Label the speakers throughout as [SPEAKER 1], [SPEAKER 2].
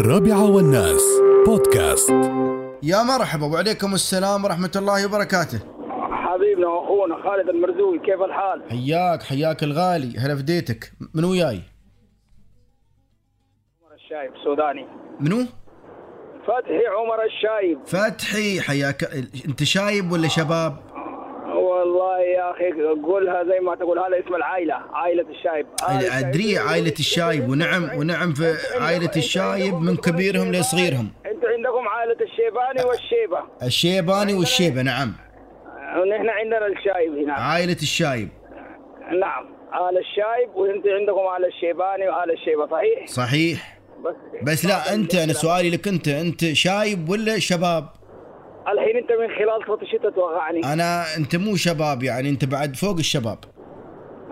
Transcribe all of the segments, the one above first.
[SPEAKER 1] الرابعة والناس بودكاست
[SPEAKER 2] يا مرحبا وعليكم السلام ورحمة الله وبركاته
[SPEAKER 3] حبيبنا واخونا خالد المرزوقي كيف الحال؟
[SPEAKER 2] حياك حياك الغالي هلا فديتك من وياي
[SPEAKER 3] عمر الشايب سوداني
[SPEAKER 2] منو
[SPEAKER 3] فتحي عمر الشايب
[SPEAKER 2] فتحي حياك انت شايب ولا شباب
[SPEAKER 3] والله يا اخي قولها زي ما تقول هذا اسم العائله عائله الشايب آل الشايب.
[SPEAKER 2] ادري يعني عائلة الشايب ونعم ونعم في عائلة الشايب من كبيرهم لصغيرهم
[SPEAKER 3] انتوا عندكم عائله الشيباني والشيبه
[SPEAKER 2] الشيباني والشيبة نعم
[SPEAKER 3] نحن عندنا الشايب هنا
[SPEAKER 2] عائلة الشايب
[SPEAKER 3] نعم آل الشايب وانتوا عندكم آل الشيباني وآل الشيبه صحيح؟
[SPEAKER 2] صحيح
[SPEAKER 3] بس
[SPEAKER 2] بس لا يعني انت انا سؤالي لك انت انت شايب ولا شباب
[SPEAKER 3] الحين انت من خلال صوت الشتاء توقعني
[SPEAKER 2] آه. انا انت مو شباب يعني انت بعد فوق الشباب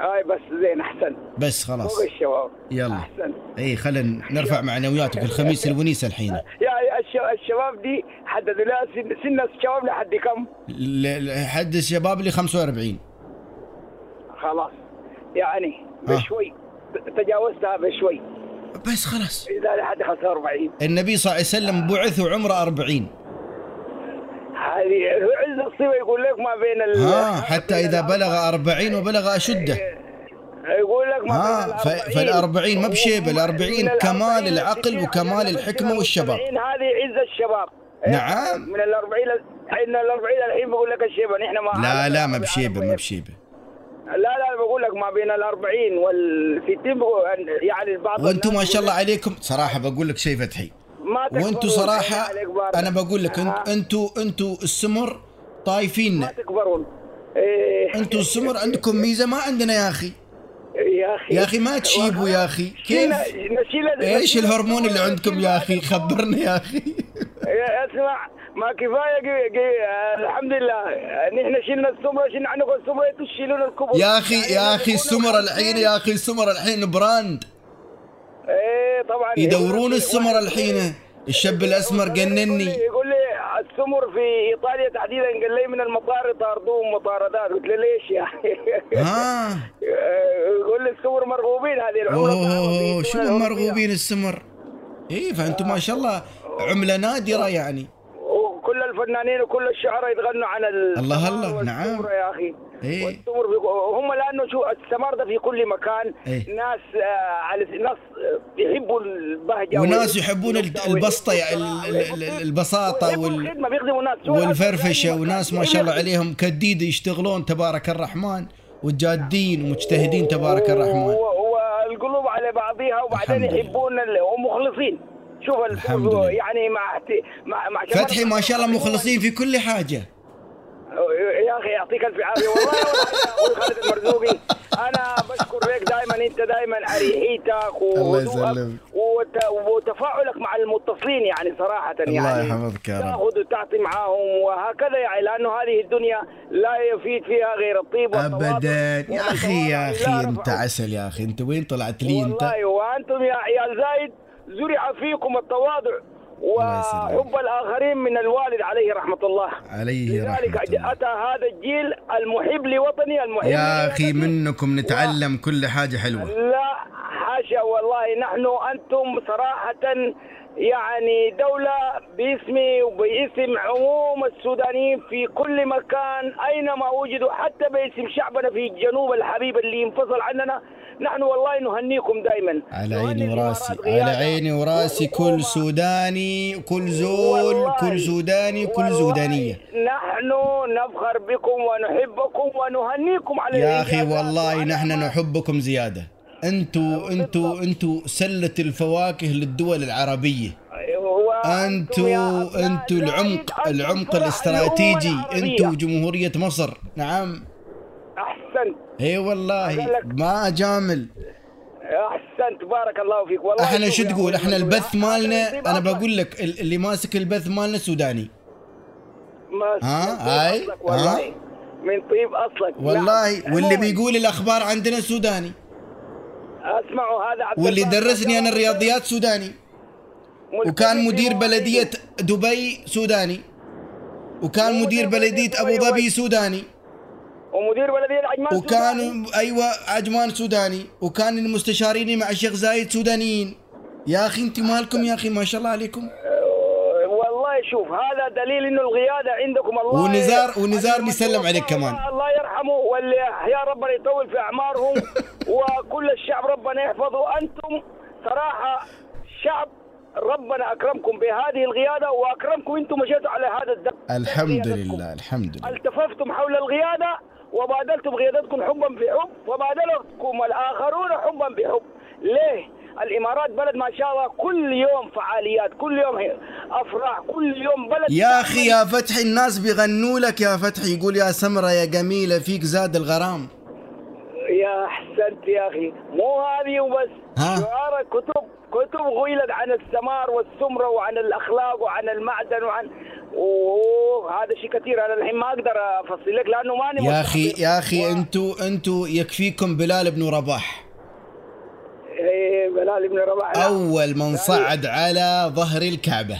[SPEAKER 3] اي بس زين احسن
[SPEAKER 2] بس خلاص
[SPEAKER 3] فوق الشباب
[SPEAKER 2] يلا.
[SPEAKER 3] احسن
[SPEAKER 2] اي خلينا نرفع معنوياتك الخميس الونيس الحين
[SPEAKER 3] يعني الش- الشباب دي حددوا لها سن, سن الشباب لحد كم؟
[SPEAKER 2] ل- ل- حد الشباب اللي 45
[SPEAKER 3] خلاص يعني
[SPEAKER 2] آه.
[SPEAKER 3] بشوي تجاوزتها بشوي
[SPEAKER 2] بس خلاص
[SPEAKER 3] اذا لحد 45
[SPEAKER 2] النبي صلى الله عليه وسلم بعث وعمره 40
[SPEAKER 3] هذه هو عز الصيغه يقول لك ما بين ال
[SPEAKER 2] ها آه، حتى اذا بلغ 40 وبلغ اشده
[SPEAKER 3] يقول لك ما
[SPEAKER 2] ها،
[SPEAKER 3] بين
[SPEAKER 2] ف- آه، فالأربعين ما بشيبة، الأربعين
[SPEAKER 3] من
[SPEAKER 2] كمال
[SPEAKER 3] الأربعين
[SPEAKER 2] العقل
[SPEAKER 3] للستين،
[SPEAKER 2] وكمال
[SPEAKER 3] يعني
[SPEAKER 2] الحكمة
[SPEAKER 3] من
[SPEAKER 2] والشباب.
[SPEAKER 3] الأربعين هذه عز الشباب
[SPEAKER 2] نعم.
[SPEAKER 3] من الأربعين لل- عندنا الأربعين الحين بقول لك الشيبة نحن ما
[SPEAKER 2] لا لا ما بشيبه ما بشيبه
[SPEAKER 3] لا لا بقول لك ما بين الأربعين والستين بقول- يعني بعض
[SPEAKER 2] وانتم ما
[SPEAKER 3] الناس
[SPEAKER 2] شاء
[SPEAKER 3] يقول
[SPEAKER 2] الله عليكم صراحه بقول لك شيء فتحي
[SPEAKER 3] ما تكبروا
[SPEAKER 2] وانتم
[SPEAKER 3] والحين
[SPEAKER 2] صراحه
[SPEAKER 3] عليك بارك.
[SPEAKER 2] انا بقول لك
[SPEAKER 3] آه.
[SPEAKER 2] انت انتوا انتوا السمر
[SPEAKER 3] ما
[SPEAKER 2] طايفيننا
[SPEAKER 3] تكبرون إيه
[SPEAKER 2] انتوا السمر عندكم ميزه ما عندنا يا اخي
[SPEAKER 3] يا اخي
[SPEAKER 2] يا اخي ما تشيبوا يا اخي كيف
[SPEAKER 3] نشيل- نشيل-
[SPEAKER 2] ايش الهرمون اللي عندكم يا اخي خبرنا يا اخي
[SPEAKER 3] يا- اسمع ما كفايه قي... قي... آه، الحمد لله آه، نحن شلنا السمره شلنا عندكم السمره انتوا تشيلون الكبر
[SPEAKER 2] يا اخي
[SPEAKER 3] يعني
[SPEAKER 2] يا اخي
[SPEAKER 3] يكونوا
[SPEAKER 2] السمر الحين يا اخي السمر الحين براند
[SPEAKER 3] ايه طبعا
[SPEAKER 2] يدورون
[SPEAKER 3] يقول-
[SPEAKER 2] السمر الحين الشاب الاسمر
[SPEAKER 3] يقول
[SPEAKER 2] جنني
[SPEAKER 3] لي- يقول لي السمر في ايطاليا تحديدا قال لي من المطار يطاردوهم مطاردات قلت له ليش يا اخي
[SPEAKER 2] ها
[SPEAKER 3] يقول لي السمر مرغوبين هذه العمله
[SPEAKER 2] اوه شنو مرغوبين السمر ايه فانتم ما شاء الله عمله نادره يعني
[SPEAKER 3] وكل الفنانين وكل الشعراء يتغنوا عن ال...
[SPEAKER 2] الله الله،
[SPEAKER 3] والسمر
[SPEAKER 2] نعم.
[SPEAKER 3] يا اخي
[SPEAKER 2] إيه.
[SPEAKER 3] والسمر في... هم لانه شو السمار ده في كل مكان
[SPEAKER 2] إيه.
[SPEAKER 3] ناس آه على ناس آه، يحبوا البهجه
[SPEAKER 2] وناس
[SPEAKER 3] وال-
[SPEAKER 2] يحبون ال- البسطه يع- ال- ال- ال- البساطه
[SPEAKER 3] ويحبوا
[SPEAKER 2] وال
[SPEAKER 3] الخدمه بيخدموا ناس يعني إيه،
[SPEAKER 2] والفرفشه وناس ما شاء الله عليهم كديده يشتغلون تبارك الرحمن وجادين ومجتهدين تبارك الرحمن
[SPEAKER 3] و- والقلوب على بعضها وبعدين
[SPEAKER 2] الحمد لله.
[SPEAKER 3] يحبون ال- ومخلصين شوف ال-
[SPEAKER 2] الحمد لله.
[SPEAKER 3] يعني مع احت- مع, مع شباب-
[SPEAKER 2] فتحي ما شاء الله مخلصين في كل حاجه
[SPEAKER 3] يا اخي يعطيك الف عافيه والله والله اقول خالد المرزوقي انا بشكرك دائما انت دائما اريحيتك
[SPEAKER 2] الله
[SPEAKER 3] وهدوءك
[SPEAKER 2] يسلمك.
[SPEAKER 3] وت- وتفاعلك مع المتصلين يعني صراحه
[SPEAKER 2] الله
[SPEAKER 3] يعني
[SPEAKER 2] يحفظك يا رب.
[SPEAKER 3] تاخذ وتعطي معاهم وهكذا يعني لانه هذه الدنيا لا يفيد فيها غير الطيب والتواضع
[SPEAKER 2] ابدا يا اخي يا
[SPEAKER 3] والتواضع
[SPEAKER 2] اخي
[SPEAKER 3] لا
[SPEAKER 2] انت
[SPEAKER 3] رفع.
[SPEAKER 2] عسل يا اخي انت وين طلعت لي انت
[SPEAKER 3] والله وانتم يا عيال زايد زرع فيكم التواضع
[SPEAKER 2] الله يسلمك.
[SPEAKER 3] وحب الاخرين من الوالد عليه رحمه الله
[SPEAKER 2] عليه
[SPEAKER 3] لذلك
[SPEAKER 2] رحمة الله.
[SPEAKER 3] اتى هذا الجيل المحب لوطني المحب
[SPEAKER 2] يا
[SPEAKER 3] لبلدي.
[SPEAKER 2] اخي منكم نتعلم كل حاجه حلوه
[SPEAKER 3] لا حاشا والله نحن انتم صراحه يعني دولة باسمي وباسم عموم السودانيين في كل مكان أينما وجدوا حتى باسم شعبنا في الجنوب الحبيب اللي انفصل عننا نحن والله نهنيكم دائما
[SPEAKER 2] على
[SPEAKER 3] نهني
[SPEAKER 2] عيني وراسي
[SPEAKER 3] الإمارات
[SPEAKER 2] على
[SPEAKER 3] غيادة
[SPEAKER 2] عيني وراسي كل
[SPEAKER 3] والحكومة.
[SPEAKER 2] سوداني وكل زول
[SPEAKER 3] والله-
[SPEAKER 2] كل سوداني وكل
[SPEAKER 3] والله إيه،
[SPEAKER 2] زودانية
[SPEAKER 3] نحن نفخر بكم ونحبكم ونهنيكم على
[SPEAKER 2] يا أخي
[SPEAKER 3] الإنجازات
[SPEAKER 2] والله
[SPEAKER 3] وعلى
[SPEAKER 2] نحن
[SPEAKER 3] ما-
[SPEAKER 2] نحبكم زيادة أنتوا أنتوا أنتوا سلة الفواكه للدول العربية
[SPEAKER 3] وأنتم يا
[SPEAKER 2] أنتوا
[SPEAKER 3] أبناء
[SPEAKER 2] أنتوا
[SPEAKER 3] زايد،
[SPEAKER 2] العمق
[SPEAKER 3] أنتم
[SPEAKER 2] العمق
[SPEAKER 3] فرح
[SPEAKER 2] الاستراتيجي
[SPEAKER 3] الأمة العربية.
[SPEAKER 2] أنتوا جمهورية مصر نعم
[SPEAKER 3] أحسنت
[SPEAKER 2] اي والله
[SPEAKER 3] أقول لك.
[SPEAKER 2] ما أجامل
[SPEAKER 3] أحسنت بارك الله فيك والله
[SPEAKER 2] احنا
[SPEAKER 3] شوف
[SPEAKER 2] شو
[SPEAKER 3] يا
[SPEAKER 2] تقول
[SPEAKER 3] أخوي طيب
[SPEAKER 2] احنا
[SPEAKER 3] المسؤول.
[SPEAKER 2] البث مالنا
[SPEAKER 3] أنت
[SPEAKER 2] انا
[SPEAKER 3] أصلاً
[SPEAKER 2] بقول لك ال- اللي ماسك البث مالنا سوداني
[SPEAKER 3] ما-
[SPEAKER 2] ها؟
[SPEAKER 3] من طيب
[SPEAKER 2] هاي؟
[SPEAKER 3] أصلك والله.
[SPEAKER 2] ها؟
[SPEAKER 3] من طيب أصلك نعم.
[SPEAKER 2] والله واللي
[SPEAKER 3] عموماً،
[SPEAKER 2] بيقول الاخبار عندنا سوداني
[SPEAKER 3] أسمعوا هذا عبد
[SPEAKER 2] واللي
[SPEAKER 3] الباسط
[SPEAKER 2] درسني انا
[SPEAKER 3] جواد.
[SPEAKER 2] الرياضيات سوداني وكان
[SPEAKER 3] ملتزم
[SPEAKER 2] مدير
[SPEAKER 3] بمواعيده.
[SPEAKER 2] بلديه دبي سوداني وكان
[SPEAKER 3] ومدير
[SPEAKER 2] مدير بلديه
[SPEAKER 3] بلدية
[SPEAKER 2] ابو
[SPEAKER 3] دبي
[SPEAKER 2] ظبي
[SPEAKER 3] وين؟
[SPEAKER 2] سوداني
[SPEAKER 3] ومدير بلدية العجمان سوداني.
[SPEAKER 2] أيوة، وكان ايوه عجمان سوداني وكان المستشارين مع الشيخ زايد سودانيين يا اخي انت مالكم يا اخي ما شاء الله عليكم
[SPEAKER 3] آه، والله شوف هذا دليل انه القياده عندكم الله
[SPEAKER 2] ونزار- ونزار
[SPEAKER 3] الله
[SPEAKER 2] بيسلم عليك كمان.
[SPEAKER 3] الله- الله يرحمه واللي يا ربنا يطول في اعمارهم وكل الشعب ربنا يحفظه انتم صراحه شعب ربنا اكرمكم بهذه القياده واكرمكم انتم مشيتوا على هذا الدرب
[SPEAKER 2] الحمد لله الحمد لله
[SPEAKER 3] التففتم حول القيادة وبادلتم قيادتكم حبا بحب وبادلتكم الآخرون حبا بحب ليه؟ الإمارات بلد ما شاء الله كل يوم فعاليات كل يوم هي- أفراح كل يوم بلد
[SPEAKER 2] يا اخي يا فتحي الناس بيغنوا لك يا فتحي يقول يا سمره يا جميله فيك زاد الغرام
[SPEAKER 3] يا أحسنت يا أخي مو هذه وبس
[SPEAKER 2] ها.
[SPEAKER 3] شعار كتب كتب غيلت عن الثمار والسمرة وعن الأخلاق وعن المعدن وعن أوه هذا شيء كثير أنا الحين ما أقدر أفصل لك لأنه ماني
[SPEAKER 2] يا اخي
[SPEAKER 3] مستحضر.
[SPEAKER 2] يا اخي انتو انتو يكفيكم بلال بن رباح
[SPEAKER 3] إيه، بلال بن رباح لا.
[SPEAKER 2] اول من صعد على ظهر الكعبه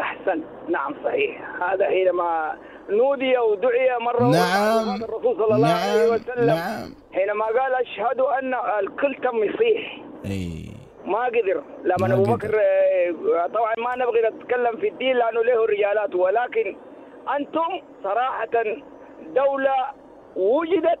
[SPEAKER 3] أحسن نعم صحيح هذا حينما نودي ودعي مرة
[SPEAKER 2] نعم.
[SPEAKER 3] وأخرى الرسول صلى الله
[SPEAKER 2] نعم.
[SPEAKER 3] عليه وسلم
[SPEAKER 2] نعم.
[SPEAKER 3] حينما قال أشهد أن الكل تم يصيح
[SPEAKER 2] اي
[SPEAKER 3] ما قدر لما
[SPEAKER 2] ما
[SPEAKER 3] أبو
[SPEAKER 2] قدر.
[SPEAKER 3] بكر آه، طبعا ما نبغي نتكلم في الدين لأنه له رجالات ولكن أنتم صراحة دولة وجدت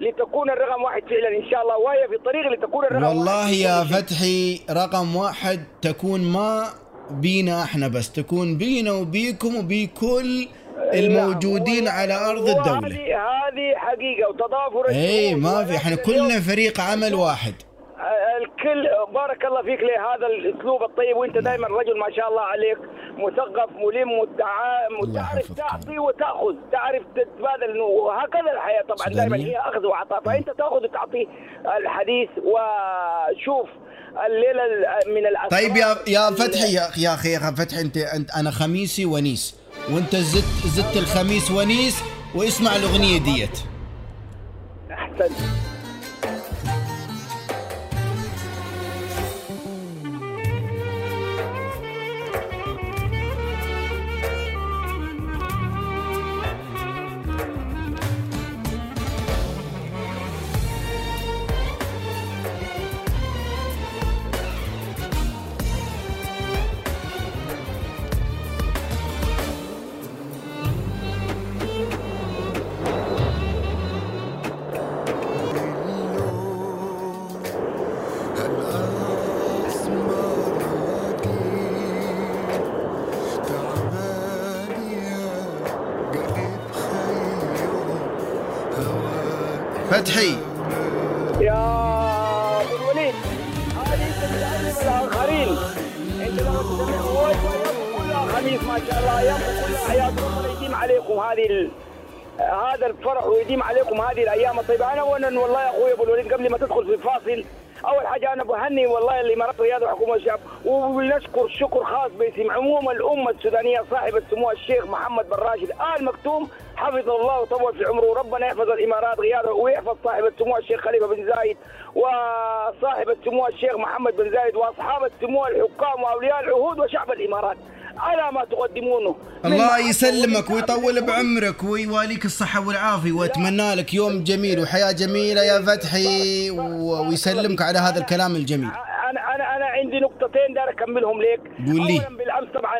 [SPEAKER 3] لتكون الرقم واحد فعلا إن شاء الله وهي في الطريق لتكون الرقم
[SPEAKER 2] والله
[SPEAKER 3] واحد
[SPEAKER 2] يا فتحي رقم واحد تكون ما بينا احنا بس تكون بينا وبيكم وبكل الموجودين
[SPEAKER 3] نعم.
[SPEAKER 2] على ارض
[SPEAKER 3] وهذه-
[SPEAKER 2] الدوله
[SPEAKER 3] هذه حقيقة
[SPEAKER 2] اي
[SPEAKER 3] وتضافر الشعوب
[SPEAKER 2] إيه، ما في
[SPEAKER 3] ولكن
[SPEAKER 2] احنا
[SPEAKER 3] اليوم
[SPEAKER 2] كلنا فريق عمل واحد
[SPEAKER 3] الكل بارك الله فيك لهذا الاسلوب الطيب وانت
[SPEAKER 2] نعم.
[SPEAKER 3] دائما رجل ما شاء الله عليك مثقف ملم متع... متعرف
[SPEAKER 2] يحفظك.
[SPEAKER 3] تعطي وتاخذ تعرف تتبادل وهكذا الحياه طبعا
[SPEAKER 2] سودانية. نعم.
[SPEAKER 3] دائما هي اخذ وعطاء فانت تاخذ وتعطي الحديث وشوف الليله ال- من الاسرار
[SPEAKER 2] طيب يا يا فتحي يا يا اخي يا فتحي انت انت انا خميسي ونيس وانت زدت زدت الخميس ونيس واسمع الاغنيه ديت
[SPEAKER 3] احسنت
[SPEAKER 2] فتحي
[SPEAKER 3] يا ابو الوليد هذه انت بتعلم الاخرين انت لما تسمع وجه يوم كلها خميس ما شاء الله ايام كلها حياه ربنا يديم عليكم هذه ال... هذا الفرح ويديم عليكم هذه الايام الطيبه انا اولا والله يا اخوي ابو الوليد قبل ما تدخل في الفاصل اول حاجه انا بهني والله الامارات والرياض وحكومه والشعب وبنشكر شكر خاص باسم عموم الامه السودانيه صاحب السمو الشيخ محمد بن راشد ال مكتوم حفظه الله وطول في عمره وربنا يحفظ الامارات رياضه ويحفظ صاحب السمو الشيخ خليفه بن زايد وصاحب السمو الشيخ محمد بن زايد واصحاب السمو الحكام واولياء العهود وشعب الامارات على ما تقدمونه من
[SPEAKER 2] الله
[SPEAKER 3] محبة
[SPEAKER 2] يسلمك
[SPEAKER 3] ومن
[SPEAKER 2] ويطول بعمرك ويواليك الصحة والعافية واتمنى لك يوم جميل وحياة جميلة يا فتحي و- ويسلمك على هذا الكلام الجميل
[SPEAKER 3] انا انا انا عندي نقطتين دار اكملهم لك
[SPEAKER 2] قول لي.
[SPEAKER 3] اولا بالامس طبعا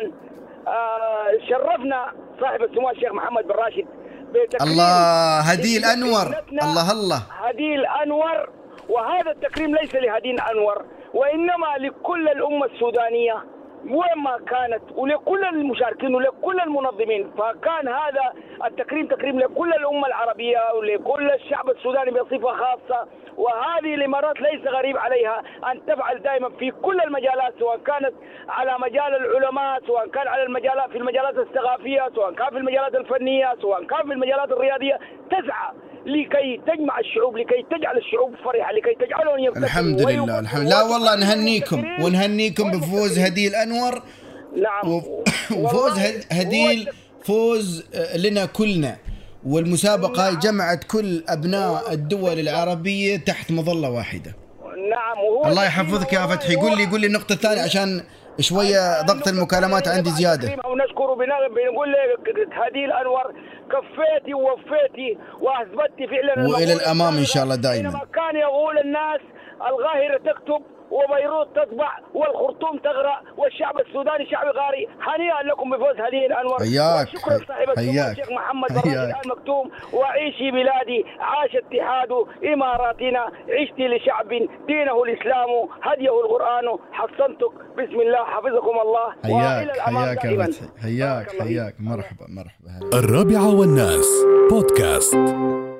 [SPEAKER 3] آه شرفنا صاحب السمو الشيخ محمد بن راشد بتكريم
[SPEAKER 2] الله هدي الأنور
[SPEAKER 3] ابنتنا
[SPEAKER 2] الله الله
[SPEAKER 3] هدي الانور وهذا التكريم ليس لهدي الانور وانما لكل الامه السودانيه وين ما كانت ولكل المشاركين ولكل المنظمين فكان هذا التكريم تكريم لكل الامه العربيه ولكل الشعب السوداني بصفه خاصه وهذه الامارات ليس غريب عليها ان تفعل دائما في كل المجالات سواء كانت على مجال العلماء سواء كان على المجالات في المجالات الثقافيه سواء كان في المجالات الفنيه سواء كان في المجالات الرياضيه تسعى لكي تجمع الشعوب لكي تجعل الشعوب فرحة لكي تجعلهم يفتخروا
[SPEAKER 2] الحمد لله
[SPEAKER 3] ويبقوا-
[SPEAKER 2] الحمد لا والله نهنيكم
[SPEAKER 3] ويبقوا-
[SPEAKER 2] ونهنيكم بفوز هدي الأنور
[SPEAKER 3] نعم
[SPEAKER 2] و- وفوز
[SPEAKER 3] والله
[SPEAKER 2] هد- هديل
[SPEAKER 3] هو-
[SPEAKER 2] فوز آه، لنا كلنا والمسابقة هاي جمعت كل أبناء الدول العربية تحت مظلة واحدة
[SPEAKER 3] نعم وهو
[SPEAKER 2] الله يحفظك يا فتحي قول لي قول لي النقطة الثانية عشان شوية ضغط المكالمات عندي زيادة
[SPEAKER 3] ونشكره بنا- بنقول لك هديل انور كفيتي ووفيتي واثبتي فعلا
[SPEAKER 2] وإلى
[SPEAKER 3] المقولة
[SPEAKER 2] الأمام إن شاء الله
[SPEAKER 3] السابقة.
[SPEAKER 2] دايماً.
[SPEAKER 3] حينما كان يقول الناس القاهره تكتب وبيروت تطبع والخرطوم تغرى والشعب السوداني شعب غاري هنيئا لكم بفوز هذه الانوار
[SPEAKER 2] حياك.
[SPEAKER 3] شكرا صاحب السمو
[SPEAKER 2] حياك.
[SPEAKER 3] الشيخ محمد
[SPEAKER 2] حياك.
[SPEAKER 3] الراشد آل مكتوم وعيشي بلادي عاش اتحاد اماراتنا عشت لشعب دينه الاسلام هديه القران حصنتك بسم الله حفظكم الله وإلى
[SPEAKER 2] حياك
[SPEAKER 3] الأمان
[SPEAKER 2] حياك يا
[SPEAKER 3] دائماً.
[SPEAKER 2] فتحي
[SPEAKER 3] بارك
[SPEAKER 2] حياك
[SPEAKER 3] الله فيك.
[SPEAKER 2] حياك مرحبا مرحبا هلا
[SPEAKER 1] الرابعة والناس بودكاست